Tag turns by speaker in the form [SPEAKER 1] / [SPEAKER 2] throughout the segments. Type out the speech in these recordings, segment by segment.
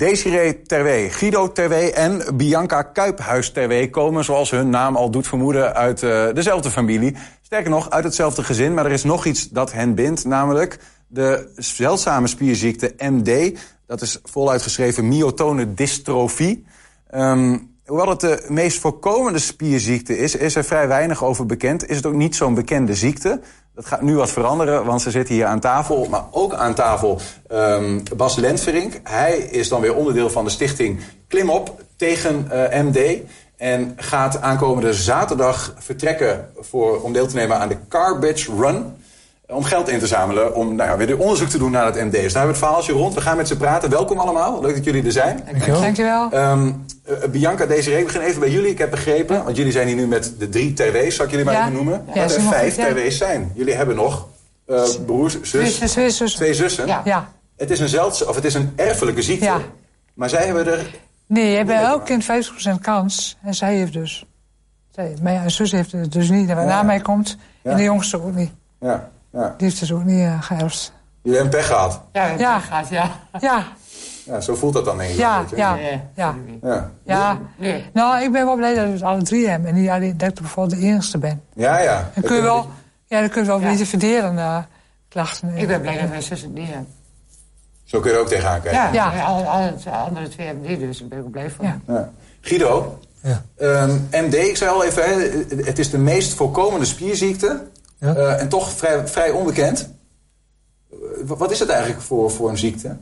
[SPEAKER 1] Desiree Terwee, Guido Terwee en Bianca Kuiphuis Terwee komen, zoals hun naam al doet vermoeden, uit eh, dezelfde familie. Sterker nog, uit hetzelfde gezin, maar er is nog iets dat hen bindt, namelijk de zeldzame spierziekte MD. Dat is voluit geschreven myotone dystrofie. Ehm, hoewel het de meest voorkomende spierziekte is, is er vrij weinig over bekend. Is het ook niet zo'n bekende ziekte. Dat gaat nu wat veranderen, want ze zitten hier aan tafel. Maar ook aan tafel ehm, Bas Lentverink. Hij is dan weer onderdeel van de stichting Klimop tegen eh, MD. En gaat aankomende zaterdag vertrekken voor, om deel te nemen aan de Carbage Run. Om geld in te zamelen, om nou ja, weer onderzoek te doen naar het MD. Dus daar hebben we het verhaaltje rond. We gaan met ze praten. Welkom allemaal. Leuk dat jullie er zijn.
[SPEAKER 2] Dankjewel.
[SPEAKER 3] Dankjewel.
[SPEAKER 1] Ehm eh, Bianca, Desiree, we beginnen even bij jullie. Ik heb begrepen, want jullie zijn hier nu met de drie TW's, zal ik jullie maar
[SPEAKER 3] Ja.
[SPEAKER 1] even noemen.
[SPEAKER 3] Ja,
[SPEAKER 1] dat
[SPEAKER 3] is
[SPEAKER 1] er
[SPEAKER 3] helemaal
[SPEAKER 1] vijf
[SPEAKER 3] goed, ja.
[SPEAKER 1] TW's zijn. Jullie hebben nog eh, broers, zus,
[SPEAKER 3] Zussen, zussen.
[SPEAKER 1] twee zussen.
[SPEAKER 2] Ja.
[SPEAKER 3] Ja.
[SPEAKER 1] Het is een zeldzaam, of het is een erfelijke ziekte.
[SPEAKER 3] Ja.
[SPEAKER 1] Maar zij hebben er.
[SPEAKER 3] Nee, je hebt bij
[SPEAKER 1] Nee, maar-
[SPEAKER 3] elk kind 50% kans. En zij heeft dus. Zij, mijn zus heeft het dus niet, en wat na mij komt.
[SPEAKER 1] Ja.
[SPEAKER 3] En de jongste ook niet.
[SPEAKER 1] Ja, ja.
[SPEAKER 3] Die heeft dus ook niet eh, geërfd.
[SPEAKER 1] Jullie hebben pech gehad.
[SPEAKER 2] Ja,
[SPEAKER 3] Ja.
[SPEAKER 2] ja. Gaat, ja.
[SPEAKER 3] Ja,
[SPEAKER 1] Ja, zo voelt dat dan denk ik. een
[SPEAKER 3] ja,
[SPEAKER 1] beetje.
[SPEAKER 3] ja,
[SPEAKER 2] Nee.
[SPEAKER 3] ja.
[SPEAKER 1] Ja.
[SPEAKER 3] ja.
[SPEAKER 2] Nee.
[SPEAKER 3] Nou, ik ben wel blij dat we het alle drie hebben. En niet alleen dat ik bijvoorbeeld de enigste ben.
[SPEAKER 1] ja, ja.
[SPEAKER 3] Dan kun je wel, ja, dan kun je wel
[SPEAKER 2] Ja.
[SPEAKER 3] niet te verderen eh, klachten.
[SPEAKER 2] Ik ben blij dat mijn zus het niet heeft.
[SPEAKER 1] Zo kun je er ook tegenaan kijken.
[SPEAKER 2] Ja,
[SPEAKER 3] Ja.
[SPEAKER 2] ja. Al, al het andere twee hebben die, dus daar ben ik ook blij van.
[SPEAKER 3] Ja.
[SPEAKER 1] Ja. Guido,
[SPEAKER 4] Ja.
[SPEAKER 1] ehm, MD, ik zei al even, hè, het is de meest voorkomende spierziekte.
[SPEAKER 4] Ja.
[SPEAKER 1] eh, en toch vrij, vrij onbekend. Eh, wa- Wat is het eigenlijk voor, voor een ziekte?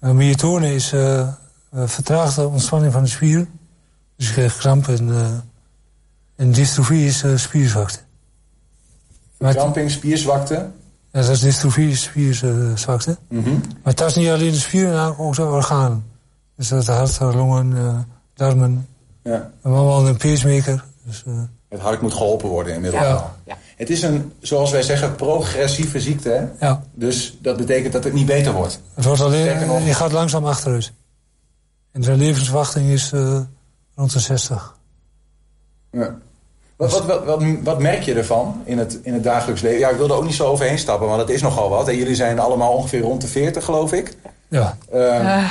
[SPEAKER 4] Uh, myotone is eh, eh, vertraagde ontspanning van de spier. Dus je krijgt kramp en, eh, en dystrofie is eh, spierzwakte. Maar het-
[SPEAKER 1] Kramping, spierzwakte. Mhm.
[SPEAKER 4] ja, dat is dystrofie is spierzwakte. Maar het is niet alleen de spieren, maar ook de organen. Dus dat hart, longen, eh, darmen.
[SPEAKER 1] Ja.
[SPEAKER 4] We hebben allemaal een pacemaker. Dus, eh,
[SPEAKER 1] Het hart moet geholpen worden inmiddels.
[SPEAKER 4] Ja.
[SPEAKER 1] wel. Het is een, zoals wij zeggen, progressieve ziekte. Hè?
[SPEAKER 4] ja,
[SPEAKER 1] Dus dat betekent dat het niet beter wordt.
[SPEAKER 4] het wordt
[SPEAKER 1] Sterker nog-
[SPEAKER 4] alleen, je gaat langzaam achteruit. En de levensverwachting is eh, rond de 60.
[SPEAKER 1] Ja. Wat, wat, wat, wat, wat merk je ervan in het, in het dagelijks leven? Ja, ik wil er ook niet zo overheen stappen, want dat is nogal wat. En jullie zijn allemaal ongeveer rond de 40, geloof ik.
[SPEAKER 4] Ja,
[SPEAKER 1] Ehm,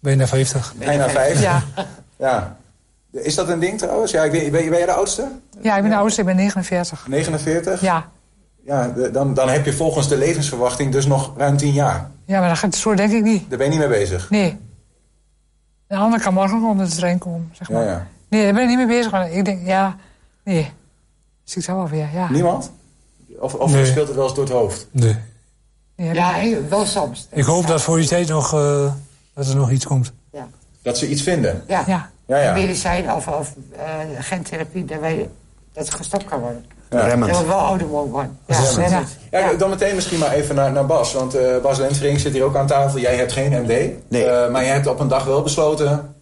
[SPEAKER 4] bijna 50.
[SPEAKER 1] Bijna vijf.
[SPEAKER 3] Ja.
[SPEAKER 1] Ja. Is dat een ding trouwens? Ja, ik weet, ben, je- ben jij de oudste?
[SPEAKER 3] ja, ik ben de oudste, ik ben 49.
[SPEAKER 1] 49?
[SPEAKER 3] Ja.
[SPEAKER 1] Ja, de- dan, dan heb je volgens de levensverwachting dus nog ruim 10 jaar.
[SPEAKER 3] ja, maar dat gaat, zo denk ik niet.
[SPEAKER 1] Daar ben je niet mee bezig.
[SPEAKER 3] Nee. De ander kan morgen nog onder de trein komen, zeg
[SPEAKER 1] Ja,
[SPEAKER 3] maar.
[SPEAKER 1] ja.
[SPEAKER 3] Nee, daar ben ik niet mee bezig. Maar ik denk, ja, nee. Zie ik dat wel weer, ja.
[SPEAKER 1] Niemand? Of, of
[SPEAKER 4] Nee.
[SPEAKER 1] speelt het wel eens door het hoofd?
[SPEAKER 4] Nee.
[SPEAKER 3] Nee,
[SPEAKER 2] Ja, ik- wel soms.
[SPEAKER 4] Ik hoop dat voor die tijd nog, eh, dat er nog iets komt.
[SPEAKER 2] Ja.
[SPEAKER 1] Dat ze iets vinden.
[SPEAKER 2] Ja.
[SPEAKER 3] Ja.
[SPEAKER 1] Ja, ja.
[SPEAKER 2] Medicijn of, of eh, gentherapie, dat, wij, dat het gestopt kan worden.
[SPEAKER 1] Ja.
[SPEAKER 2] Dat we wel ouder mogen worden. Ja,
[SPEAKER 3] Ja.
[SPEAKER 2] dat is het.
[SPEAKER 1] Ja, dan meteen misschien maar even naar, naar Bas. Want eh, Bas Lentering zit hier ook aan tafel. Jij hebt geen MD.
[SPEAKER 5] Nee.
[SPEAKER 1] Eh, maar jij hebt op een dag wel besloten.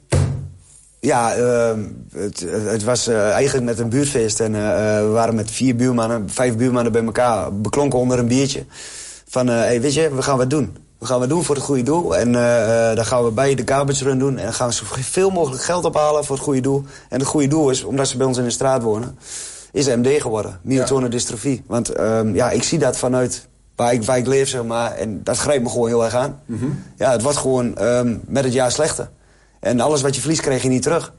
[SPEAKER 5] Ja, ehm, het, het was eh, eigenlijk met een buurtfeest. En eh, eh, we waren met vier buurmannen, vijf buurmannen bij elkaar. Beklonken onder een biertje. Van, eh, hey, weet je, we gaan wat doen. We gaan wat doen voor het goede doel. En eh, eh, dan gaan we bij de garbage run doen. En dan gaan we zoveel mogelijk geld ophalen voor het goede doel. En het goede doel is, omdat ze bij ons in de straat wonen... is MD geworden, myotone dystrofie. Want ehm, ja, ik zie dat vanuit waar ik, waar ik leef, zeg maar. En dat greep me gewoon heel erg aan. Ja, het wordt gewoon ehm, met het jaar slechter. En alles wat je verliest, kreeg je niet terug.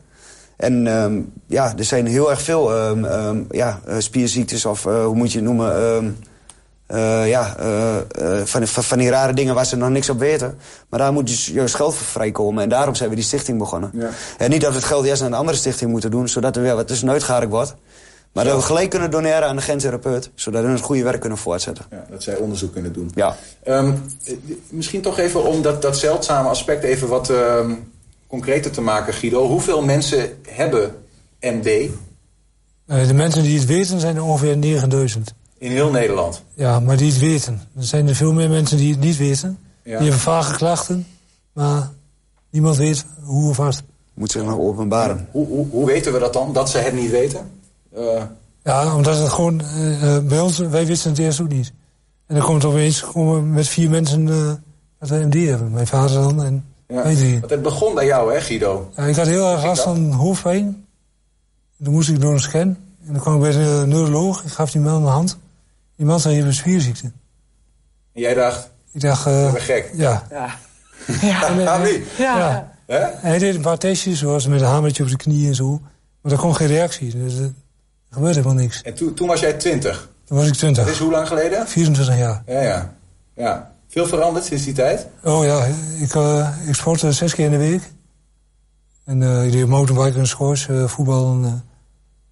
[SPEAKER 5] En ehm, ja, er zijn heel erg veel ehm, ehm, ja, eh, spierziektes of eh, hoe moet je het noemen... ehm, eh, ja, eh, eh, van, van, van die rare dingen waar ze nog niks op weten. Maar daar moet dus juist geld voor vrijkomen. En daarom zijn we die stichting begonnen.
[SPEAKER 1] Ja.
[SPEAKER 5] En niet dat we het geld eerst naar een andere stichting moeten doen... zodat er weer wat tussenuit geharkt wordt. Maar dat we gelijk kunnen doneren aan de gentherapeut... zodat we het goede werk kunnen voortzetten.
[SPEAKER 1] Ja, dat zij onderzoek kunnen doen.
[SPEAKER 5] Ja.
[SPEAKER 1] Ehm, eh, misschien toch even om dat, dat zeldzame aspect even wat ehm, concreter te maken, Guido. Hoeveel mensen hebben MD
[SPEAKER 4] Eh, de mensen die het weten zijn er ongeveer 9000.
[SPEAKER 1] in heel Nederland?
[SPEAKER 4] Ja, maar die het weten. Er zijn er veel meer mensen die het niet weten.
[SPEAKER 1] Ja.
[SPEAKER 4] Die hebben vage klachten, maar niemand weet hoe of wat.
[SPEAKER 5] moet zich nog openbaren.
[SPEAKER 1] Hoe, hoe, hoe weten we dat dan, dat ze het niet weten? Eh,
[SPEAKER 4] Ja, omdat het gewoon, eh, eh, bij ons, wij wisten het eerst ook niet. En dan komt opeens komen we met vier mensen eh dat we MD hebben. Mijn vader dan en
[SPEAKER 1] ja.
[SPEAKER 4] wij drieën.
[SPEAKER 1] Want het begon bij jou, hè, Guido?
[SPEAKER 4] Ja, Nou, ik had heel erg last van hoofdpijn. Toen moest ik door een scan. En dan kwam ik bij de neuroloog. Ik gaf die man mijn hand. Die man zei, je hebt een spierziekte.
[SPEAKER 1] En jij dacht,
[SPEAKER 4] Ik dacht, eh,
[SPEAKER 1] ik ben gek.
[SPEAKER 4] ja.
[SPEAKER 2] Ja.
[SPEAKER 3] Ja.
[SPEAKER 1] Waarom niet?
[SPEAKER 3] Ja.
[SPEAKER 4] Ja.
[SPEAKER 1] Hè?
[SPEAKER 4] Hij deed een paar testjes, zoals met een hamertje op de knie en zo. Maar er kwam geen reactie. Dus eh, er gebeurde helemaal niks.
[SPEAKER 1] En toen, toen was jij 20.
[SPEAKER 4] Toen was
[SPEAKER 1] Dat
[SPEAKER 4] ik
[SPEAKER 1] is
[SPEAKER 4] 20,
[SPEAKER 1] Dus hoe lang geleden?
[SPEAKER 4] 24 jaar.
[SPEAKER 1] Ja, ja. ja. Veel veranderd sinds die tijd.
[SPEAKER 4] Oh ja, ik, eh ik sportte zes keer in de week. En eh, ik deed mountainbiken en squash, eh, voetbal. En, eh,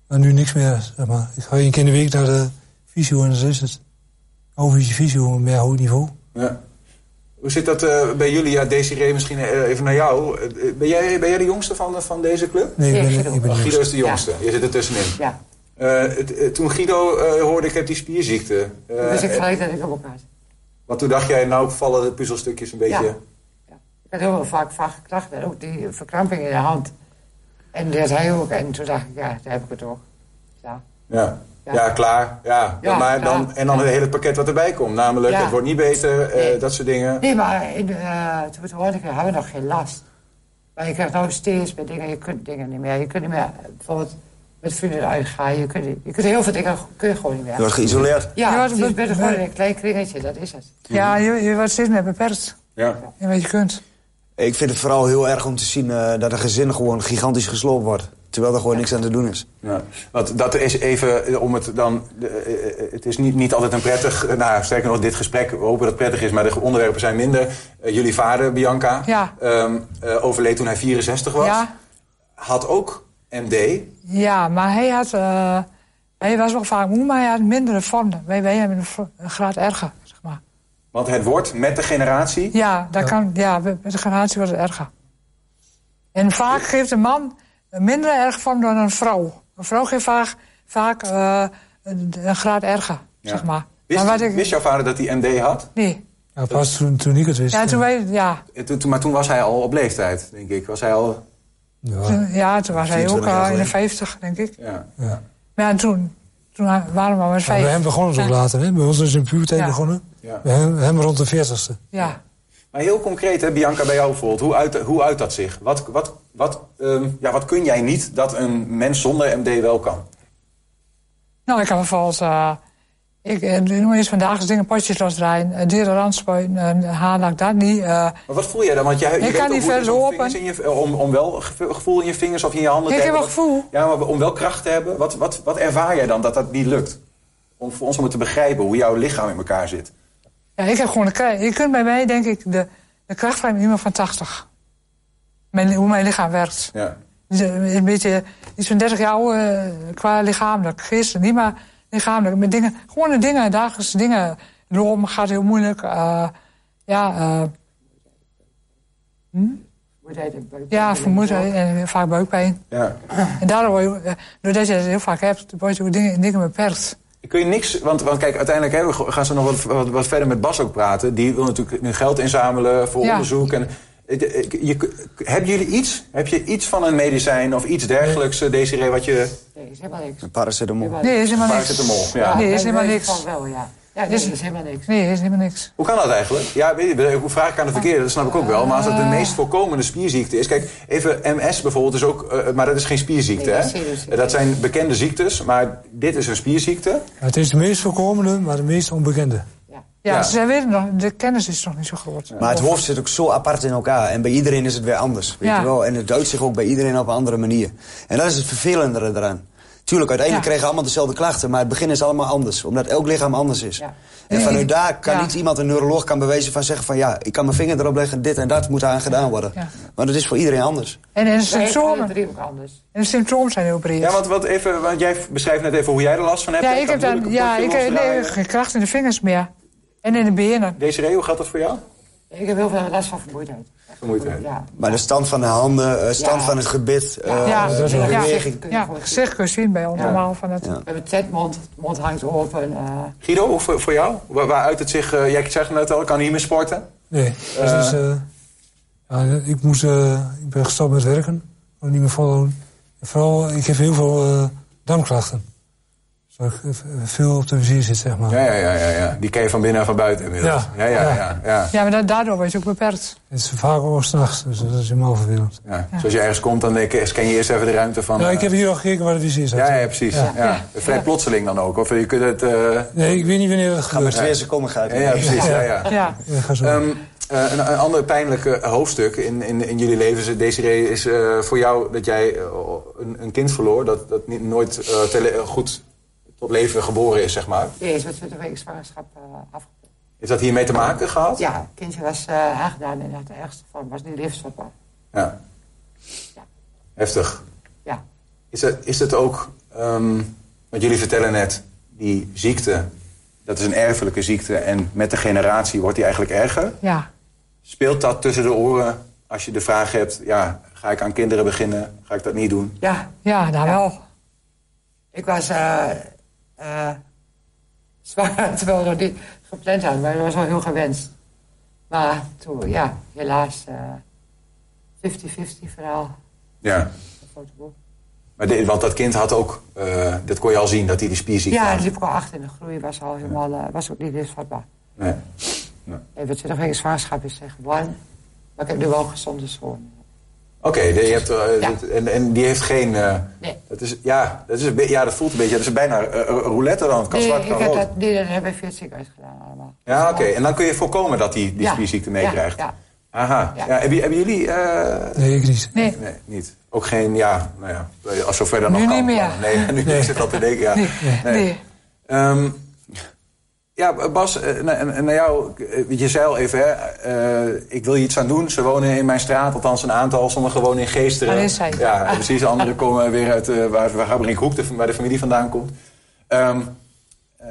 [SPEAKER 4] maar nu niks meer, zeg maar. Ik ga één keer in de week naar de fysio en dat is het. Overuurtje fysio, meer hoog niveau.
[SPEAKER 1] Ja. Hoe zit dat eh, bij jullie? Ja, Desiree, misschien eh, even naar jou. Eh, ben, jij, ben jij de jongste van, de- van deze club?
[SPEAKER 4] Nee, ik
[SPEAKER 2] Ja,
[SPEAKER 4] ben,
[SPEAKER 2] Guido.
[SPEAKER 4] ik ben
[SPEAKER 1] Oh,
[SPEAKER 4] niet.
[SPEAKER 1] Guido is de jongste. Je zit er tussenin.
[SPEAKER 2] Ja,
[SPEAKER 1] Eh, het- eh, toen Guido eh, hoorde ik heb die spierziekte. eh,
[SPEAKER 2] toen wist Dus ik
[SPEAKER 1] eh,
[SPEAKER 2] gelijk dat ik hem ook had.
[SPEAKER 1] Want toen dacht jij, nou vallen de puzzelstukjes een beetje...
[SPEAKER 2] Ja. Ja. Ik had heel vaak van geklacht. En ook die verkramping in de hand. En dat had hij ook. En toen dacht ik, ja, daar heb ik het ook. Ja.
[SPEAKER 1] Ja. Ja.
[SPEAKER 2] Ja.
[SPEAKER 1] klaar. Ja.
[SPEAKER 2] Ja,
[SPEAKER 1] maar dan,
[SPEAKER 2] klaar.
[SPEAKER 1] en dan het hele pakket wat erbij komt. Namelijk,
[SPEAKER 2] Ja.
[SPEAKER 1] het wordt niet beter, eh,
[SPEAKER 2] Nee.
[SPEAKER 1] dat soort dingen.
[SPEAKER 2] Nee, maar in, eh, toen het hoorde ik, hadden we nog geen last. Maar je krijgt nou steeds met dingen, je kunt dingen niet meer. Je kunt niet meer eh, bijvoorbeeld met vrienden uitgaan. Je kunt, niet- je kunt heel veel dingen kun je gewoon niet
[SPEAKER 5] Je
[SPEAKER 2] meer.
[SPEAKER 5] wordt geïsoleerd.
[SPEAKER 3] Je
[SPEAKER 2] Ja,
[SPEAKER 3] wordt
[SPEAKER 2] het is
[SPEAKER 3] be-
[SPEAKER 2] beter gewoon
[SPEAKER 3] be-
[SPEAKER 2] in een klein kringetje, dat is het.
[SPEAKER 3] Ja, je, je wordt steeds meer beperkt
[SPEAKER 1] Ja.
[SPEAKER 3] in wat je kunt.
[SPEAKER 5] Ik vind het vooral heel erg om te zien eh, dat een gezin gewoon gigantisch gesloopt wordt. Terwijl er gewoon niks aan te doen is.
[SPEAKER 1] Ja. Want dat is even eh, om het dan. de- eh, eh, Het is niet, niet altijd een prettig. eh, Nou, sterker nog, dit gesprek. We hopen dat het prettig is, maar de onderwerpen zijn minder. Eh, jullie vader, Bianca,
[SPEAKER 3] Ja.
[SPEAKER 1] ehm, eh, overleed toen hij 64 was.
[SPEAKER 3] Ja.
[SPEAKER 1] Had ook MD.
[SPEAKER 3] Ja, maar hij had... eh, hij was wel vaak moe, maar hij had mindere vormen. Wij, wij hebben een, vo- een graad erger, zeg maar.
[SPEAKER 1] Want het wordt met de generatie.
[SPEAKER 3] Ja, dat Kan, ja, met met de generatie wordt het erger. En vaak geeft een man een minder erg vorm dan een vrouw. Een vrouw geeft vaak, vaak eh, een, een graad erger,
[SPEAKER 1] Ja.
[SPEAKER 3] zeg maar.
[SPEAKER 1] Wist,
[SPEAKER 3] maar wat ik,
[SPEAKER 1] wist jouw vader dat hij MD had?
[SPEAKER 3] nee.
[SPEAKER 4] Ja, pas toen, toen ik het wist.
[SPEAKER 3] Ja, toen, wij, ja,
[SPEAKER 1] Eh, toen- toen- Maar toen was hij al op leeftijd, denk ik. Was hij al.
[SPEAKER 4] Ja,
[SPEAKER 3] toen, ja, toen was hij ook
[SPEAKER 5] 24 jaar
[SPEAKER 3] eh, in de
[SPEAKER 5] geleden.
[SPEAKER 3] 50, denk ik.
[SPEAKER 1] Ja.
[SPEAKER 4] ja.
[SPEAKER 3] Maar ja, toen, toen waren we maar
[SPEAKER 4] Maar bij hem
[SPEAKER 3] vijf.
[SPEAKER 4] begon het ook
[SPEAKER 3] Ja.
[SPEAKER 4] later. Hè? Bij ons is het in puberteit
[SPEAKER 3] Ja.
[SPEAKER 4] begonnen.
[SPEAKER 1] Ja.
[SPEAKER 4] Bij hem, hem rond de 40ste.
[SPEAKER 3] Ja.
[SPEAKER 1] Maar heel concreet, hè, Bianca, bij jou bijvoorbeeld. Hoe uit, hoe uit dat zich? Wat, wat, wat, ehm, ja, wat kun jij niet dat een mens zonder MD wel kan?
[SPEAKER 3] Nou, ik heb bijvoorbeeld... eh ik eh, noem eens vandaag dingen potjes losdraaien. eh, Dieren randspuiten, eh, haarlak dat niet. eh
[SPEAKER 1] Maar wat voel jij dan? Want jij, je
[SPEAKER 3] Ik
[SPEAKER 1] weet
[SPEAKER 3] kan
[SPEAKER 1] ook
[SPEAKER 3] niet
[SPEAKER 1] hoe het is
[SPEAKER 3] verder
[SPEAKER 1] om
[SPEAKER 3] lopen.
[SPEAKER 1] vingers in je- Om, om wel ge- gevoel in je vingers of in je handen
[SPEAKER 3] Ik
[SPEAKER 1] te
[SPEAKER 3] heb
[SPEAKER 1] hebben.
[SPEAKER 3] wel
[SPEAKER 1] Wat-
[SPEAKER 3] gevoel.
[SPEAKER 1] Ja, maar om wel kracht te hebben. Wat, wat, wat ervaar jij dan dat dat niet lukt? Om voor ons om het te begrijpen hoe jouw lichaam in elkaar zit.
[SPEAKER 3] Ja, ik heb gewoon de kracht. Je kunt bij mij, denk ik, de, de kracht van iemand van 80. Mijn, hoe mijn lichaam werkt.
[SPEAKER 1] Ja.
[SPEAKER 3] Dus, eh, Een beetje iets van 30 jaar ouder, eh, qua lichamelijk. Geestelijk niet, maar lichamelijk. Met dingen, gewoon de dingen, dagelijkse dingen. Lopen gaat heel moeilijk. eh, ja, eh,
[SPEAKER 2] Moedheid en buik-
[SPEAKER 3] ja vermoeidheid en vaak buikpijn.
[SPEAKER 1] ja.
[SPEAKER 3] En daardoor, word je, eh, doordat je dat heel vaak hebt, word je ook dingen, dingen beperkt.
[SPEAKER 1] Kun je niks, want, want kijk, uiteindelijk hè, we go- gaan ze nog wat, wat, wat verder met Bas ook praten. Die wil natuurlijk nu geld inzamelen voor
[SPEAKER 3] Ja.
[SPEAKER 1] onderzoek. En, eh, eh, je, hebben jullie iets? Heb je iets van een medicijn of iets dergelijks, eh, Desiree, wat je...
[SPEAKER 2] Nee, is helemaal niks.
[SPEAKER 5] Een paracetamol.
[SPEAKER 3] Nee, is helemaal
[SPEAKER 1] Paracetamol,
[SPEAKER 3] niks.
[SPEAKER 1] ja.
[SPEAKER 3] Nee, is helemaal
[SPEAKER 2] wij
[SPEAKER 3] niks.
[SPEAKER 2] Van wel, ja. Ja, nee,
[SPEAKER 3] Is-
[SPEAKER 2] is helemaal niks.
[SPEAKER 3] Nee, is helemaal niks.
[SPEAKER 1] Hoe kan dat eigenlijk? Ja, weet je, hoe vraag ik aan de verkeerde? Dat snap ik ook wel. Maar als dat de
[SPEAKER 3] Eh.
[SPEAKER 1] meest voorkomende spierziekte is... Kijk, even MS bijvoorbeeld is ook... eh, maar dat is geen spierziekte,
[SPEAKER 2] Nee,
[SPEAKER 1] hè?
[SPEAKER 2] dat is geen spierziekte.
[SPEAKER 1] Eh, Dat zijn bekende ziektes, maar dit is een spierziekte.
[SPEAKER 4] Ja, het is de meest voorkomende, maar de meest onbekende.
[SPEAKER 2] Ja.
[SPEAKER 3] Ja,
[SPEAKER 1] Ja.
[SPEAKER 3] Ze weten nog, de kennis is nog niet zo groot.
[SPEAKER 5] Maar het hoofd zit ook zo apart in elkaar. En bij iedereen is het weer anders. Weet
[SPEAKER 3] Ja.
[SPEAKER 5] je wel? En het duidt zich ook bij iedereen op een andere manier. En dat is het vervelendere eraan. Tuurlijk, uiteindelijk
[SPEAKER 3] Ja.
[SPEAKER 5] krijgen allemaal dezelfde klachten. Maar het begin is allemaal anders. Omdat elk lichaam anders is.
[SPEAKER 2] Ja.
[SPEAKER 5] En vanuit daar kan
[SPEAKER 3] Ja.
[SPEAKER 5] niet iemand, een neuroloog, kan bewijzen van zeggen van... ja, ik kan mijn vinger erop leggen, dit en dat moet aan gedaan worden.
[SPEAKER 3] Ja.
[SPEAKER 5] Want het is voor iedereen anders.
[SPEAKER 3] En, en de
[SPEAKER 2] Wij alle
[SPEAKER 3] symptomen,
[SPEAKER 2] drie ook anders.
[SPEAKER 3] en de symptomen zijn heel breed.
[SPEAKER 1] Ja, want, wat even, want jij beschrijft net even hoe jij er last van hebt.
[SPEAKER 3] Ja,
[SPEAKER 1] Je
[SPEAKER 3] ik
[SPEAKER 1] kan
[SPEAKER 3] heb dan
[SPEAKER 1] moeilijke
[SPEAKER 3] ja, ik,
[SPEAKER 1] potjes
[SPEAKER 3] heb- nee,
[SPEAKER 1] losdraaien.
[SPEAKER 3] geen kracht in de vingers meer. En in de benen.
[SPEAKER 1] Desiree, hoe gaat dat voor jou?
[SPEAKER 2] Ik heb heel veel last van vermoeidheid.
[SPEAKER 1] Vermoeidheid.
[SPEAKER 2] Ja.
[SPEAKER 5] Maar de stand van de handen, eh, stand
[SPEAKER 2] Ja.
[SPEAKER 5] van het gebit, eh,
[SPEAKER 3] Ja,
[SPEAKER 5] eh,
[SPEAKER 3] dat is
[SPEAKER 5] de
[SPEAKER 3] wel- ja.
[SPEAKER 5] beweging.
[SPEAKER 2] Kun je
[SPEAKER 3] Ja,
[SPEAKER 2] gewoon
[SPEAKER 3] gezicht kun je zien bij ons allemaal. Van het,
[SPEAKER 5] Ja.
[SPEAKER 2] We hebben tetmond, de mond hangt open. eh
[SPEAKER 1] Guido, hoe voor, voor jou? Waar, waar uit het zich... eh, jij zegt net al, ik kan niet meer sporten.
[SPEAKER 4] Nee, dat is, eh, ja, ik, moest, eh, ik ben gestopt met werken. Kon niet meer volhouden. En vooral, ik heb heel veel eh, darmklachten. Zodat ik eh, veel op de vizier zit, zeg maar.
[SPEAKER 1] Ja, ja, ja, ja, ja. Die ken je van binnen en van buiten inmiddels.
[SPEAKER 4] Ja.
[SPEAKER 1] ja, ja.
[SPEAKER 4] Ja.
[SPEAKER 1] ja, ja.
[SPEAKER 3] ja, maar da- daardoor word je ook beperkt.
[SPEAKER 4] Het is vaak ook s'nachts, dus dat is helemaal vervelend.
[SPEAKER 1] Ja. Dus als je ergens komt, dan denk je, scan je eerst even de ruimte van...
[SPEAKER 4] Ja, ik
[SPEAKER 1] eh,
[SPEAKER 4] heb hier al gekeken waar de vizier zat.
[SPEAKER 1] ja, ja, precies. Ja.
[SPEAKER 4] Ja.
[SPEAKER 1] Vrij plotseling dan ook. Of je kunt het... eh,
[SPEAKER 4] Nee, ik weet niet wanneer dat
[SPEAKER 5] Ga maar
[SPEAKER 4] gebeurt.
[SPEAKER 5] twee seconden gaat.
[SPEAKER 1] Ja, ja, precies. Ja, ja.
[SPEAKER 3] Ja.
[SPEAKER 4] Ja, ga zo.
[SPEAKER 1] Ehm, Eh, een, een ander pijnlijk eh, hoofdstuk in, in, in jullie leven, ze- Desiree, is eh, voor jou dat jij eh, een, een kind verloor dat, dat niet, nooit eh, tele- eh, goed tot leven geboren is, zeg maar.
[SPEAKER 2] Deze met 20 weken zwangerschap eh afgelopen.
[SPEAKER 1] Heeft dat hiermee te maken gehad?
[SPEAKER 2] Ja, het kindje was eh aangedaan in het ergste vorm. Was niet levensvatbaar.
[SPEAKER 1] Ja.
[SPEAKER 2] Ja.
[SPEAKER 1] Heftig.
[SPEAKER 2] Ja.
[SPEAKER 1] Is het, is het ook, ehm want jullie vertellen net, die ziekte, dat is een erfelijke ziekte en met de generatie wordt die eigenlijk erger.
[SPEAKER 3] Ja.
[SPEAKER 1] Speelt dat tussen de oren als je de vraag hebt, ja, ga ik aan kinderen beginnen, ga ik dat niet doen?
[SPEAKER 2] Ja,
[SPEAKER 3] Ja, nou
[SPEAKER 2] Ja.
[SPEAKER 3] wel.
[SPEAKER 2] ik was eh eh, zwanger terwijl we nog niet gepland hadden. Maar dat was wel heel gewenst. Maar toen, ja, helaas eh 50-50 verhaal.
[SPEAKER 1] Ja.
[SPEAKER 2] Een fotoboek.
[SPEAKER 1] Maar de- want dat kind had ook, eh, dat kon je al zien, dat hij die spierziekte
[SPEAKER 2] Ja,
[SPEAKER 1] had.
[SPEAKER 2] die liep ik al achter in de groei. Was al helemaal, eh, was ook niet levensvatbaar.
[SPEAKER 1] Nee.
[SPEAKER 2] Even 20 weken zwangerschap is echt warm. Maar ik heb nu wel een gezonde zoon.
[SPEAKER 1] Oké, de- je hebt, eh,
[SPEAKER 2] Ja.
[SPEAKER 1] dat- en, en die heeft geen... eh,
[SPEAKER 2] Nee.
[SPEAKER 1] dat is, ja, dat is een be- ja, dat voelt een beetje, dat is bijna eh, eh, roulette dan, het kan
[SPEAKER 2] Nee,
[SPEAKER 1] zwart, kan
[SPEAKER 2] ik heb
[SPEAKER 1] rood.
[SPEAKER 2] dat, nee, dat hebben we via het ziekenhuis gedaan allemaal.
[SPEAKER 1] Ja, oké. En dan kun je voorkomen dat hij die
[SPEAKER 2] Dus- Ja,
[SPEAKER 1] spierziekte
[SPEAKER 2] ja,
[SPEAKER 1] meekrijgt.
[SPEAKER 2] ja.
[SPEAKER 1] Aha. Ja.
[SPEAKER 2] Ja.
[SPEAKER 1] hebben, hebben jullie... eh,
[SPEAKER 4] Nee, ik niet.
[SPEAKER 3] Nee.
[SPEAKER 1] Nee, niet. Ook geen, ja, nou ja, als zover dan
[SPEAKER 3] Nu
[SPEAKER 1] nog kan.
[SPEAKER 3] niet meer.
[SPEAKER 1] Nee, nu
[SPEAKER 4] Nee.
[SPEAKER 1] zit dat te denken, ja.
[SPEAKER 3] Nee. Nee.
[SPEAKER 1] Ehm, ja, Bas, eh, na- en- en naar jou, eh, je zei al even, hè, eh, ik wil hier iets aan doen. Ze wonen in mijn straat, althans een aantal, sommigen wonen in Geesteren.
[SPEAKER 3] Alleen zij.
[SPEAKER 1] Ja, precies. Anderen komen weer uit eh, waar, waar Gabriel Hoek, de, waar de familie vandaan komt. Ehm, eh,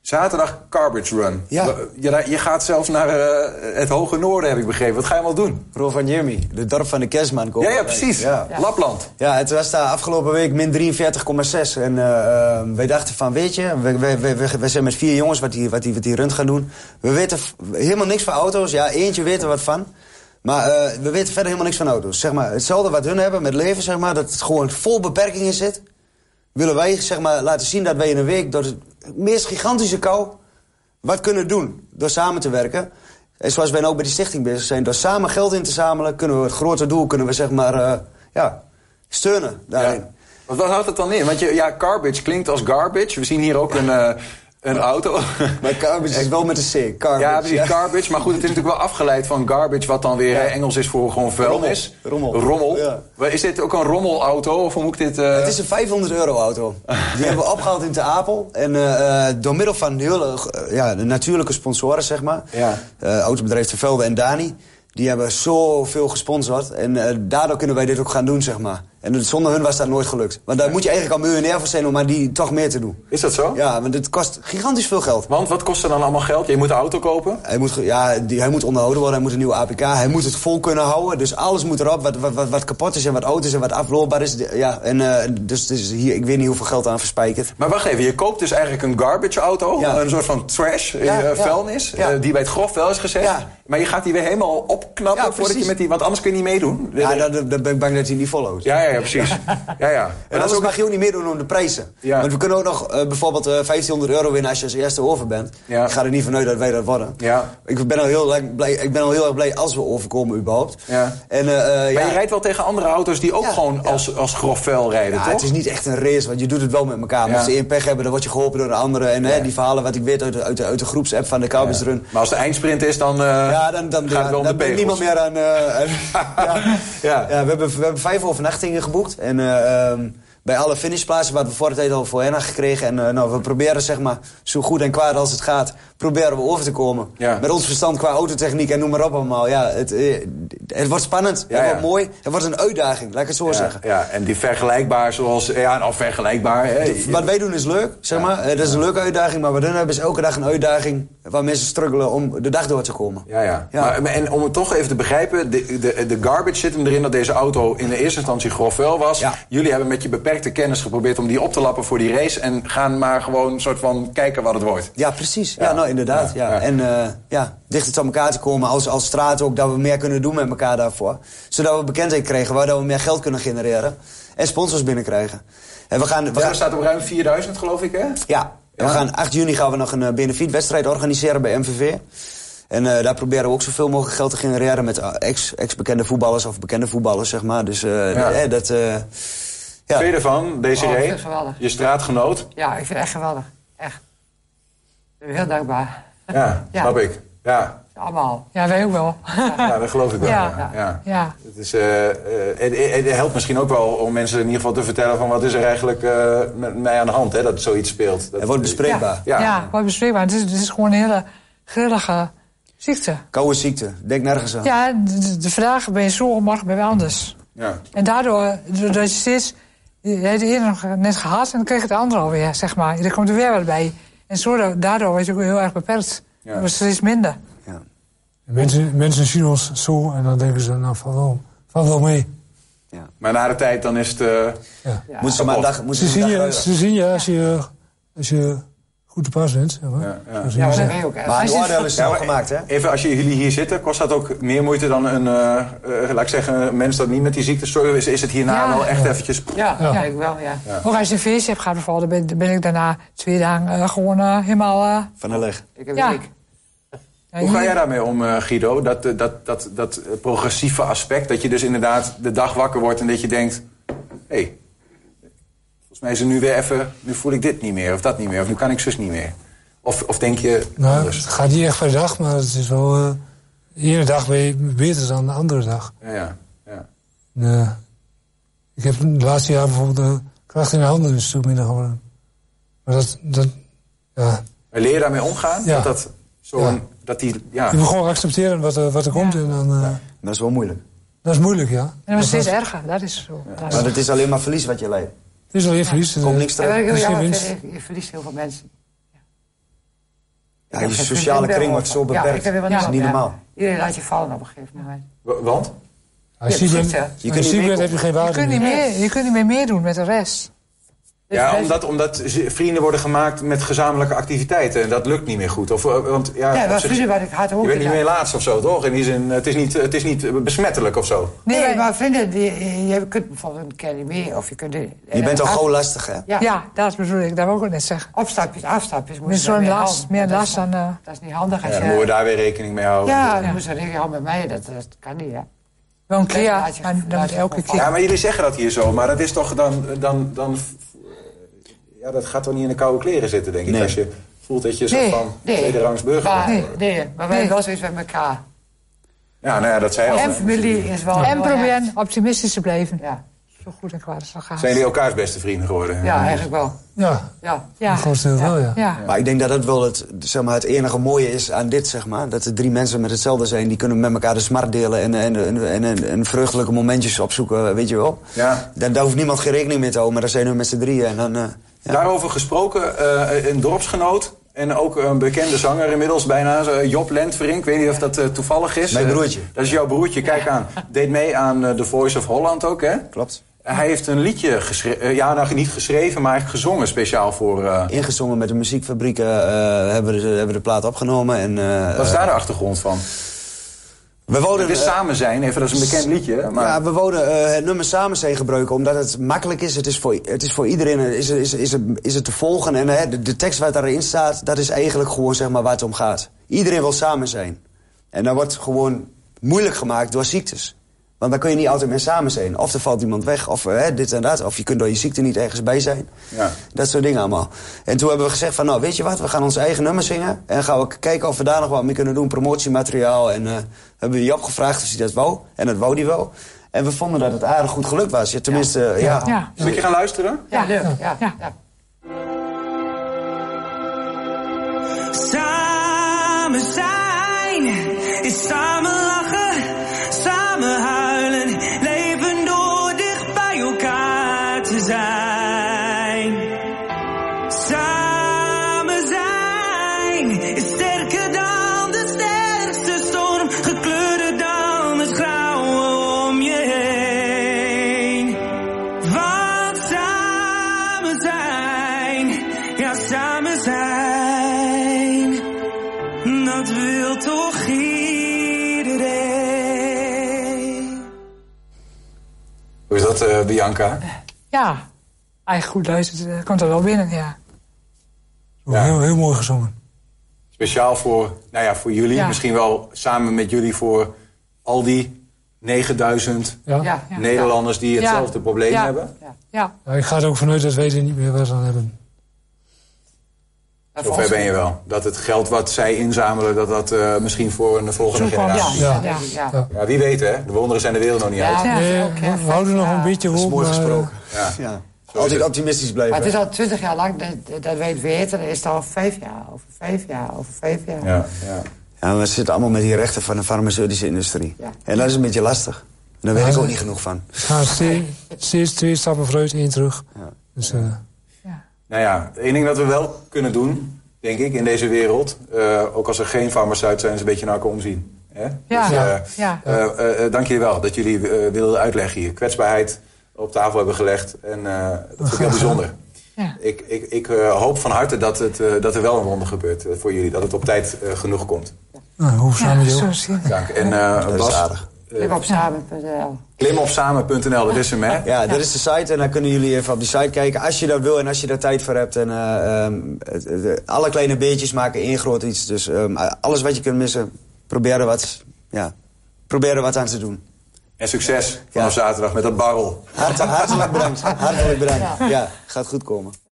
[SPEAKER 1] zaterdag Garbage Run.
[SPEAKER 5] Ja.
[SPEAKER 1] Je, je gaat zelfs naar eh, het hoge noorden, heb ik begrepen. Wat ga je allemaal doen?
[SPEAKER 5] Rol van Jeremy, de dorp van de kerstman.
[SPEAKER 1] Ja, ja, precies.
[SPEAKER 5] Oh, Ja.
[SPEAKER 1] Lapland.
[SPEAKER 5] Ja, het was daar afgelopen week min 43,6. En eh, eh, wij dachten van, weet je, we, we, we, we- we zijn met vier jongens wat die, wat, die, wat die run gaan doen. We weten f- helemaal niks van auto's. Ja, eentje weet er wat van. Maar eh, we weten verder helemaal niks van auto's. Zeg maar, hetzelfde wat hun hebben met leven, zeg maar, dat het gewoon vol beperkingen zit. Willen wij zeg maar, laten zien dat wij in een week door de meest gigantische kou wat kunnen doen door samen te werken. En zoals wij nu ook bij die stichting bezig zijn, door samen geld in te zamelen, kunnen we het grote doel kunnen we zeg maar, eh, ja, steunen daarin.
[SPEAKER 1] Ja. Want wat houdt het dan in? Want je, ja, garbage klinkt als garbage. We zien hier ook een, eh, een auto.
[SPEAKER 5] Maar Carbage is wel met een C. Carbage,
[SPEAKER 1] ja, precies, garbage. Maar goed, het is natuurlijk wel afgeleid van garbage, wat dan weer hè, Engels is voor gewoon vuilnis.
[SPEAKER 5] Rommel. Rommel. Ja.
[SPEAKER 1] Maar Is dit ook een rommelauto? Of hoe moet ik dit... eh,
[SPEAKER 5] Het is een 500 euro auto. Die hebben we opgehaald in Ter Apel. En eh, eh, door middel van heel, eh, ja, de natuurlijke sponsoren, zeg maar.
[SPEAKER 1] Ja.
[SPEAKER 5] Eh, autobedrijf Ter Velde en Dani. Die hebben zoveel gesponsord. En eh, daardoor kunnen wij dit ook gaan doen, zeg maar. En zonder hun was dat nooit gelukt. Want daar moet je eigenlijk al miljonair voor zijn om aan die toch meer te doen.
[SPEAKER 1] Is dat zo?
[SPEAKER 5] Ja, want het kost gigantisch veel geld.
[SPEAKER 1] Want wat kost er dan allemaal geld? Je moet een auto kopen.
[SPEAKER 5] Hij moet, ge- ja, die, hij moet onderhouden worden, hij moet een nieuwe APK, hij moet het vol kunnen houden. Dus alles moet erop, wat, wat, wat, wat kapot is en wat oud is en wat afloopbaar is. De- Ja, en, eh, dus het is hier, ik weet niet hoeveel geld aan verspijkerd.
[SPEAKER 1] Maar wacht even, je koopt dus eigenlijk een garbage auto.
[SPEAKER 5] Ja.
[SPEAKER 1] Een soort van trash, eh,
[SPEAKER 5] Ja, ja.
[SPEAKER 1] vuilnis.
[SPEAKER 5] Ja.
[SPEAKER 1] eh, die bij het grof wel is gezet.
[SPEAKER 5] Ja.
[SPEAKER 1] Maar je gaat die weer helemaal opknappen
[SPEAKER 5] Ja,
[SPEAKER 1] voordat je
[SPEAKER 5] precies.
[SPEAKER 1] met die... Want anders kun je niet meedoen. Eh,
[SPEAKER 5] Ja, daar daar ben ik bang dat hij niet volhoudt.
[SPEAKER 1] Ja, ja, ja, precies. Ja, ja.
[SPEAKER 5] En anders mag je ook niet meer doen om de prijzen.
[SPEAKER 1] Ja.
[SPEAKER 5] Want we kunnen ook nog eh, bijvoorbeeld eh, 1500 euro winnen als je als eerste over bent.
[SPEAKER 1] Ja.
[SPEAKER 5] Ik ga er niet vanuit dat wij dat worden.
[SPEAKER 1] Ja.
[SPEAKER 5] Ik, ben al heel lang blij, ik ben al heel erg blij als we overkomen überhaupt.
[SPEAKER 1] Ja.
[SPEAKER 5] En, eh, eh,
[SPEAKER 1] Maar
[SPEAKER 5] ja.
[SPEAKER 1] je rijdt wel tegen andere auto's die ook
[SPEAKER 5] Ja,
[SPEAKER 1] gewoon
[SPEAKER 5] ja.
[SPEAKER 1] als, als grof vuil rijden,
[SPEAKER 5] Ja,
[SPEAKER 1] toch?
[SPEAKER 5] het is niet echt een race, want je doet het wel met elkaar. Maar
[SPEAKER 1] Ja.
[SPEAKER 5] als ze één pech hebben, dan word je geholpen door de anderen. En hè, die verhalen wat ik weet uit de, uit de, uit de groepsapp van de Cowboys
[SPEAKER 1] Ja.
[SPEAKER 5] Run.
[SPEAKER 1] Maar als de eindsprint is, dan, eh,
[SPEAKER 5] Ja, dan, dan,
[SPEAKER 1] gaat het
[SPEAKER 5] ja,
[SPEAKER 1] wel om
[SPEAKER 5] dan
[SPEAKER 1] de
[SPEAKER 5] ben ik
[SPEAKER 1] pegels.
[SPEAKER 5] niemand meer aan... eh, aan- ja.
[SPEAKER 1] Ja.
[SPEAKER 5] Ja. we, hebben, we hebben vijf overnachtingen geboekt. En eh, ehm, bij alle finishplaatsen wat we voor de tijd al voor hen hadden gekregen. En eh, nou, we proberen zeg maar, zo goed en kwaad als het gaat, proberen we over te komen.
[SPEAKER 1] Ja.
[SPEAKER 5] Met ons verstand qua autotechniek en noem maar op allemaal. Ja, het, eh, het wordt spannend,
[SPEAKER 1] Ja,
[SPEAKER 5] het
[SPEAKER 1] ja.
[SPEAKER 5] wordt mooi. Het wordt een uitdaging, laat ik het zo
[SPEAKER 1] Ja,
[SPEAKER 5] zeggen.
[SPEAKER 1] ja, en die vergelijkbaar zoals... Ja, nou, vergelijkbaar. Hè.
[SPEAKER 5] Wat wij doen is leuk, zeg maar. Eh, dat is een leuke uitdaging. Maar wat hun hebben is elke dag een uitdaging waar mensen struggelen om de dag door te komen.
[SPEAKER 1] Ja, ja.
[SPEAKER 5] Ja.
[SPEAKER 1] Maar, maar- en om het toch even te begrijpen, de, de, de garbage zit hem erin dat deze auto in de eerste instantie grof vuil was.
[SPEAKER 5] Ja.
[SPEAKER 1] Jullie hebben met je beperkte kennis geprobeerd om die op te lappen voor die race. En gaan maar gewoon een soort van kijken wat het wordt.
[SPEAKER 5] Ja, precies. Ja,
[SPEAKER 1] Ja.
[SPEAKER 5] nou inderdaad.
[SPEAKER 1] Ja,
[SPEAKER 5] Ja,
[SPEAKER 1] ja.
[SPEAKER 5] En eh, ja, dichter tot elkaar te komen als, als straat ook, dat we meer kunnen doen met elkaar daarvoor. Zodat we bekendheid krijgen, waardoor we meer geld kunnen genereren en sponsors binnenkrijgen. En we gaan, we
[SPEAKER 1] Het
[SPEAKER 5] gaan,
[SPEAKER 1] staat op ruim 4000, geloof ik, hè?
[SPEAKER 5] ja, en we
[SPEAKER 1] Ja.
[SPEAKER 5] gaan 8 juni gaan we nog een eh, benefietwedstrijd organiseren bij MVV. En eh, daar proberen we ook zoveel mogelijk geld te genereren met eh, ex- ex-bekende voetballers of bekende voetballers, zeg maar. Dus eh,
[SPEAKER 1] Ja.
[SPEAKER 5] eh, dat. eh, ja.
[SPEAKER 1] Tweede van,
[SPEAKER 2] Oh, ik
[SPEAKER 1] Desiree,
[SPEAKER 2] vind het geweldig.
[SPEAKER 1] je straatgenoot.
[SPEAKER 2] Ja, ik vind het echt geweldig. Echt. Ik ben heel dankbaar.
[SPEAKER 1] Ja,
[SPEAKER 2] Ja.
[SPEAKER 1] snap ik. Ja.
[SPEAKER 2] Allemaal.
[SPEAKER 3] Ja, wij ook wel.
[SPEAKER 1] Ja, dat geloof ik wel.
[SPEAKER 3] Ja.
[SPEAKER 1] ja. Ja.
[SPEAKER 3] ja.
[SPEAKER 1] Het, is, eh, eh, het, het helpt misschien ook wel om mensen in ieder geval te vertellen van wat is er eigenlijk eh, met mij aan de hand, hè, dat zoiets speelt. Dat,
[SPEAKER 5] Het wordt bespreekbaar.
[SPEAKER 1] Ja.
[SPEAKER 3] Ja, ja wat bespreekbaar. Het is, het is gewoon een hele grillige ziekte.
[SPEAKER 5] Koude ziekte. Denk nergens aan.
[SPEAKER 3] Ja, de, de vandaag ben je zo, morgen ben je anders.
[SPEAKER 1] Ja.
[SPEAKER 3] En daardoor, doordat je steeds... eh, Je hebt het eerder nog net gehad en dan kreeg je het andere alweer, zeg maar. Er komt er weer wat bij. En zo, daardoor word je ook heel erg beperkt.
[SPEAKER 1] Ja.
[SPEAKER 3] Je wordt steeds minder.
[SPEAKER 4] Mensen, mensen zien ons zo en dan denken ze, nou, val wel, val wel mee.
[SPEAKER 1] Maar na de tijd dan is het... eh,
[SPEAKER 4] Ja.
[SPEAKER 2] Ja.
[SPEAKER 5] Moeten
[SPEAKER 1] Kapot.
[SPEAKER 5] ze maandag...
[SPEAKER 4] Ze,
[SPEAKER 5] Moeten ze
[SPEAKER 4] zien je,
[SPEAKER 5] maandag
[SPEAKER 4] ze zien je als je, als je goed te pas bent. Zeg maar.
[SPEAKER 1] Ja, ja.
[SPEAKER 4] Zo zien
[SPEAKER 2] Ja,
[SPEAKER 4] ze.
[SPEAKER 2] maar dat ben je ook echt.
[SPEAKER 5] Maar
[SPEAKER 3] Als
[SPEAKER 5] een
[SPEAKER 3] je-
[SPEAKER 5] oordeel is
[SPEAKER 1] Ja,
[SPEAKER 5] snel
[SPEAKER 1] maar-
[SPEAKER 5] gemaakt, hè?
[SPEAKER 1] Even als jullie hier zitten, kost dat ook meer moeite dan een, eh, eh, laat ik zeggen, een mens dat niet met die ziekte zo is, is het hierna
[SPEAKER 3] Ja.
[SPEAKER 1] wel echt eventjes...
[SPEAKER 2] Ja,
[SPEAKER 4] Ja.
[SPEAKER 2] ja. ik wel, ja.
[SPEAKER 3] Ook als je een feestje hebt gehad bijvoorbeeld, dan ben, dan ben ik daarna twee dagen eh, gewoon eh, helemaal... eh,
[SPEAKER 5] Van de leg.
[SPEAKER 2] Ik heb
[SPEAKER 3] Ja.
[SPEAKER 2] ik.
[SPEAKER 3] ja,
[SPEAKER 1] Hoe ga
[SPEAKER 3] hier-
[SPEAKER 1] jij daarmee om, eh, Guido? Dat, eh, dat, dat, dat eh, progressieve aspect, dat je dus inderdaad de dag wakker wordt en dat je denkt... Hé, hey, volgens mij is er nu weer even... Nu voel ik dit niet meer, of dat niet meer, of nu kan ik zus niet meer. Of, of denk je
[SPEAKER 4] Nou,
[SPEAKER 5] Dus-
[SPEAKER 4] het
[SPEAKER 1] anders?
[SPEAKER 4] gaat niet echt per dag, maar het is wel... eh, de ene dag ben je beter dan de andere dag.
[SPEAKER 1] Ja, ja, ja.
[SPEAKER 4] En, eh, ik heb het laatste jaar bijvoorbeeld de kracht in de handen is toen minder geworden. Maar dat... dat ja.
[SPEAKER 1] Maar leer je daarmee omgaan?
[SPEAKER 4] Ja.
[SPEAKER 1] Dat, dat, zo
[SPEAKER 4] Ja.
[SPEAKER 1] een- dat die... Ja,
[SPEAKER 4] Je moet gewoon accepteren wat, er- wat er komt.
[SPEAKER 3] Ja.
[SPEAKER 4] En dan, eh,
[SPEAKER 5] Dat is wel moeilijk.
[SPEAKER 4] Dat is moeilijk, ja.
[SPEAKER 3] En dat
[SPEAKER 4] Dat
[SPEAKER 3] wordt steeds
[SPEAKER 4] was-
[SPEAKER 3] erger, dat is zo. Dat is-
[SPEAKER 5] Maar het is alleen maar verlies wat je leidt.
[SPEAKER 4] Het is alleen verlies.
[SPEAKER 5] Er komt niks
[SPEAKER 2] En wat
[SPEAKER 5] terug.
[SPEAKER 2] ik heel
[SPEAKER 4] Misschien
[SPEAKER 2] jammer
[SPEAKER 4] winst.
[SPEAKER 2] vind, je verliest heel veel mensen.
[SPEAKER 5] Ja, je sociale kring wordt zo
[SPEAKER 2] Ja, ik
[SPEAKER 5] beperkt.
[SPEAKER 2] heb helemaal
[SPEAKER 5] Dat is
[SPEAKER 2] niks op,
[SPEAKER 5] niet
[SPEAKER 2] ja.
[SPEAKER 5] normaal.
[SPEAKER 2] Iedereen laat je vallen op een gegeven moment.
[SPEAKER 1] wa- Want?
[SPEAKER 4] Als je
[SPEAKER 2] Ja,
[SPEAKER 4] ziek bent,
[SPEAKER 2] precies,
[SPEAKER 4] als
[SPEAKER 2] hè.
[SPEAKER 5] Je
[SPEAKER 4] je
[SPEAKER 5] kunt niet
[SPEAKER 4] ziek bent
[SPEAKER 5] meekomen.
[SPEAKER 4] heb je geen
[SPEAKER 3] Je
[SPEAKER 4] waarde
[SPEAKER 3] kunt,
[SPEAKER 4] meer.
[SPEAKER 3] niet meer, je kunt niet meer meedoen met de rest.
[SPEAKER 2] Dus
[SPEAKER 1] ja,
[SPEAKER 2] mensen-
[SPEAKER 1] omdat, omdat z- vrienden worden gemaakt met gezamenlijke activiteiten. En dat lukt niet meer goed. Of, eh, want, ja,
[SPEAKER 2] Ja,
[SPEAKER 1] op
[SPEAKER 2] dat
[SPEAKER 1] zich-
[SPEAKER 2] is wat ik hard hoor.
[SPEAKER 1] je bent niet meer laatst of zo, toch? In die zin, het is niet, het is niet eh, besmettelijk of zo.
[SPEAKER 2] Nee,
[SPEAKER 3] wij-
[SPEAKER 2] maar vrienden, die, je kunt bijvoorbeeld een keer niet meer. Of je, kunt,
[SPEAKER 5] Je bent al gauw lastig, hè?
[SPEAKER 2] Ja,
[SPEAKER 3] Ja, dat bedoel ik. Dat wil ik ook net zeggen.
[SPEAKER 2] opstapjes, afstapjes. Moet
[SPEAKER 3] Dus
[SPEAKER 2] je dan
[SPEAKER 3] zo'n
[SPEAKER 2] weer
[SPEAKER 3] last,
[SPEAKER 2] halen.
[SPEAKER 3] meer
[SPEAKER 2] Dat is
[SPEAKER 3] last dan... eh,
[SPEAKER 2] Dat is niet handig als
[SPEAKER 1] Ja, dan
[SPEAKER 2] je...
[SPEAKER 1] moeten we daar weer rekening mee houden.
[SPEAKER 2] ja, dan moet je rekening houden met mij. Dat, dat kan niet, hè.
[SPEAKER 3] wel een keer,
[SPEAKER 2] Laat je-
[SPEAKER 3] maar dan
[SPEAKER 2] laat
[SPEAKER 3] moet
[SPEAKER 2] je
[SPEAKER 3] elke
[SPEAKER 2] gewoon
[SPEAKER 1] Ja,
[SPEAKER 3] keer.
[SPEAKER 1] maar jullie zeggen dat hier zo, maar dat is toch dan... dan, dan eh, ja, dat gaat toch niet in de koude kleren zitten, denk ik.
[SPEAKER 5] Nee.
[SPEAKER 1] Als je voelt dat je zo
[SPEAKER 3] Nee,
[SPEAKER 1] van
[SPEAKER 2] nee.
[SPEAKER 1] tweede rangs burger
[SPEAKER 2] Maar,
[SPEAKER 1] bent.
[SPEAKER 2] nee, nee, maar wij
[SPEAKER 3] Nee.
[SPEAKER 2] wel zoiets met elkaar.
[SPEAKER 1] Ja, nou ja, dat zei je al.
[SPEAKER 2] En
[SPEAKER 1] hè.
[SPEAKER 2] familie is wel...
[SPEAKER 3] En
[SPEAKER 2] wel echt-
[SPEAKER 3] proberen optimistisch te blijven.
[SPEAKER 2] Ja,
[SPEAKER 3] Zo goed en kwaad als dat gaat.
[SPEAKER 1] Zijn jullie elkaars beste vrienden geworden?
[SPEAKER 2] ja, eigenlijk wel.
[SPEAKER 4] Ja,
[SPEAKER 2] Ja.
[SPEAKER 4] een
[SPEAKER 3] Ja,
[SPEAKER 4] groot deel wel, ja.
[SPEAKER 3] ja.
[SPEAKER 5] Maar ik denk dat dat wel het, zeg maar, het enige mooie is aan dit, zeg maar. Dat er drie mensen met hetzelfde zijn. Die kunnen met elkaar de smart delen en, en, en, en, en, en vreugdelijke momentjes opzoeken, weet je wel.
[SPEAKER 1] Ja.
[SPEAKER 5] Daar, daar hoeft niemand geen rekening mee te houden, maar daar zijn we met z'n drieën. En dan, eh, ja.
[SPEAKER 1] Daarover gesproken, eh, een dorpsgenoot en ook een bekende zanger inmiddels bijna, zo, eh, Job Lentverink. Ik weet niet of dat eh, toevallig is.
[SPEAKER 5] Mijn
[SPEAKER 1] Eh,
[SPEAKER 5] broertje.
[SPEAKER 1] dat is jouw broertje, kijk aan. Deed mee aan eh, The Voice of Holland ook, hè?
[SPEAKER 5] Klopt.
[SPEAKER 1] Hij heeft een liedje geschreven, ja, nou niet geschreven, maar hij heeft gezongen speciaal voor... eh,
[SPEAKER 5] Ingezongen met de muziekfabrieken eh, hebben, we de, hebben we de plaat opgenomen. En, eh,
[SPEAKER 1] wat is daar de achtergrond van?
[SPEAKER 5] we wouden,
[SPEAKER 1] Het is
[SPEAKER 5] eh,
[SPEAKER 1] Samen Zijn, even, dat is een bekend liedje. hè, Maar,
[SPEAKER 5] Ja, we wouden eh, het nummer samen zijn gebruiken omdat het makkelijk is. Het is voor, het is voor iedereen eh, is, is, is, is het te volgen. En eh, de, de tekst wat daarin staat, dat is eigenlijk gewoon zeg maar, waar het om gaat. Iedereen wil samen zijn. En dat wordt gewoon moeilijk gemaakt door ziektes. Want dan kun je niet altijd meer samen zijn. Of er valt iemand weg, of eh, dit en dat. Of je kunt door je ziekte niet ergens bij zijn.
[SPEAKER 1] Ja.
[SPEAKER 5] Dat soort dingen allemaal. En toen hebben we gezegd van, nou weet je wat, we gaan ons eigen nummer zingen. En gaan we k- kijken of we daar nog wat mee kunnen doen, promotiemateriaal. En eh, hebben we Jap gevraagd of hij dat wou. En dat wou die wel. En we vonden dat het aardig goed gelukt was. Ja, tenminste, eh, ja.
[SPEAKER 3] Ja.
[SPEAKER 1] Zal ik je gaan luisteren?
[SPEAKER 2] Ja,
[SPEAKER 3] Ja.
[SPEAKER 2] leuk. Ja,
[SPEAKER 3] Ja.
[SPEAKER 2] ja.
[SPEAKER 6] Samen zijn is samen lachen, samen huilen, leven door dicht bij elkaar te zijn. Samen zijn is sterker dan de sterkste storm, gekleurder dan het grauwe om je heen. Want samen zijn, ja samen zijn, dat wil toch iedereen.
[SPEAKER 1] Hoe is dat, eh, Bianca?
[SPEAKER 3] Ja, eigenlijk goed luistert, eh, komt er wel binnen, ja.
[SPEAKER 1] Ja.
[SPEAKER 4] Heel, heel mooi gezongen.
[SPEAKER 1] Speciaal voor, nou ja, voor jullie,
[SPEAKER 3] Ja.
[SPEAKER 1] misschien wel samen met jullie voor al die 9000
[SPEAKER 4] Ja.
[SPEAKER 2] Ja. Ja.
[SPEAKER 1] Nederlanders die
[SPEAKER 3] Ja.
[SPEAKER 1] hetzelfde probleem
[SPEAKER 3] Ja.
[SPEAKER 1] hebben.
[SPEAKER 3] Ja,
[SPEAKER 4] Ja, ik ga er ook vanuit dat wij er niet meer wat aan hebben.
[SPEAKER 2] Maar voor
[SPEAKER 1] Zover
[SPEAKER 2] ons-
[SPEAKER 1] ben je wel. Dat het geld wat zij inzamelen, dat dat eh, misschien voor een volgende
[SPEAKER 3] Toekomst.
[SPEAKER 1] generatie...
[SPEAKER 2] Ja,
[SPEAKER 4] Ja.
[SPEAKER 2] ja. ja.
[SPEAKER 4] Ja.
[SPEAKER 1] Ja, wie weet hè. De wonderen zijn de wereld nog niet
[SPEAKER 2] Ja.
[SPEAKER 1] uit.
[SPEAKER 2] Ja.
[SPEAKER 4] Nee,
[SPEAKER 2] ook, hè,
[SPEAKER 4] we houden nog een beetje
[SPEAKER 5] Dat is
[SPEAKER 4] hoop.
[SPEAKER 5] mooi
[SPEAKER 4] maar, eh,
[SPEAKER 5] gesproken.
[SPEAKER 1] Ja.
[SPEAKER 5] Ja.
[SPEAKER 1] is
[SPEAKER 5] Altijd
[SPEAKER 1] het.
[SPEAKER 5] optimistisch
[SPEAKER 2] Maar
[SPEAKER 5] blijven.
[SPEAKER 2] het is al twintig jaar lang dat, dat wij het weten. Dan is het al vijf jaar, over vijf jaar, over vijf jaar.
[SPEAKER 1] Ja, ja.
[SPEAKER 5] Ja, we zitten allemaal met die rechten van de farmaceutische industrie.
[SPEAKER 2] Ja.
[SPEAKER 5] En dat is een beetje lastig. En daar weet ik ook niet genoeg van.
[SPEAKER 4] We gaan steeds, steeds twee stappen vooruit, één terug. Dus, eh,
[SPEAKER 1] Nou ja, één ding dat we wel kunnen doen, denk ik, in deze wereld... eh, ook als er geen farmaceut zijn, is een beetje naar elkaar omzien. Hè?
[SPEAKER 3] Ja,
[SPEAKER 1] Dus, eh,
[SPEAKER 3] ja.
[SPEAKER 1] eh, eh, eh, dank jullie wel dat jullie eh, wilden uitleggen hier. Kwetsbaarheid op tafel hebben gelegd. En eh, dat vind ik heel bijzonder.
[SPEAKER 3] Ja.
[SPEAKER 1] Ik, ik, ik eh, hoop van harte dat, het, eh, dat er wel een wonder gebeurt eh, voor jullie. Dat het op tijd eh, genoeg komt.
[SPEAKER 4] nou, hoe samen
[SPEAKER 3] Ja,
[SPEAKER 4] je
[SPEAKER 3] zo
[SPEAKER 4] ook.
[SPEAKER 3] zien.
[SPEAKER 1] Dank. En eh,
[SPEAKER 5] Dat is
[SPEAKER 1] Bas, eh,
[SPEAKER 5] aardig.
[SPEAKER 2] Klik op samen.nl.
[SPEAKER 1] klimopsamen.nl, dat is hem hè?
[SPEAKER 5] Ja, dat is de site en dan kunnen jullie even op die site kijken. Als je dat wil en als je daar tijd voor hebt. En, eh, ehm, het- het- alle kleine beetjes maken één groot iets. Dus ehm, alles wat je kunt missen, probeer er wat, ja, probeer er wat aan te doen.
[SPEAKER 1] En succes vanaf zaterdag met dat barrel.
[SPEAKER 5] Hart- hartelijk bedankt. Hartelijk bedankt. Ja, gaat goed komen.